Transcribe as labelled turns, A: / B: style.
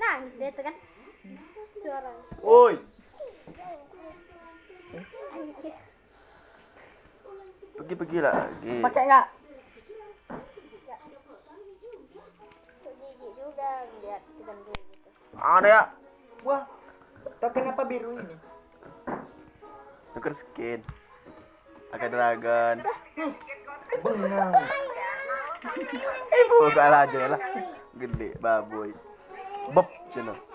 A: Nangis dito kan. Suara.
B: Uy!
A: Anjir.
B: Pergi-pergi lah. lagi.
C: Pakai nggak?
A: Kok jijik juga ngeliat tukang dulu gitu.
B: Ada ya?
C: Wah, tau kenapa biru ini?
B: Nuker skin. Agak dragon.
C: Benang.
B: Oh, Buka aja lah. Gede baboy. lah. Bop cina.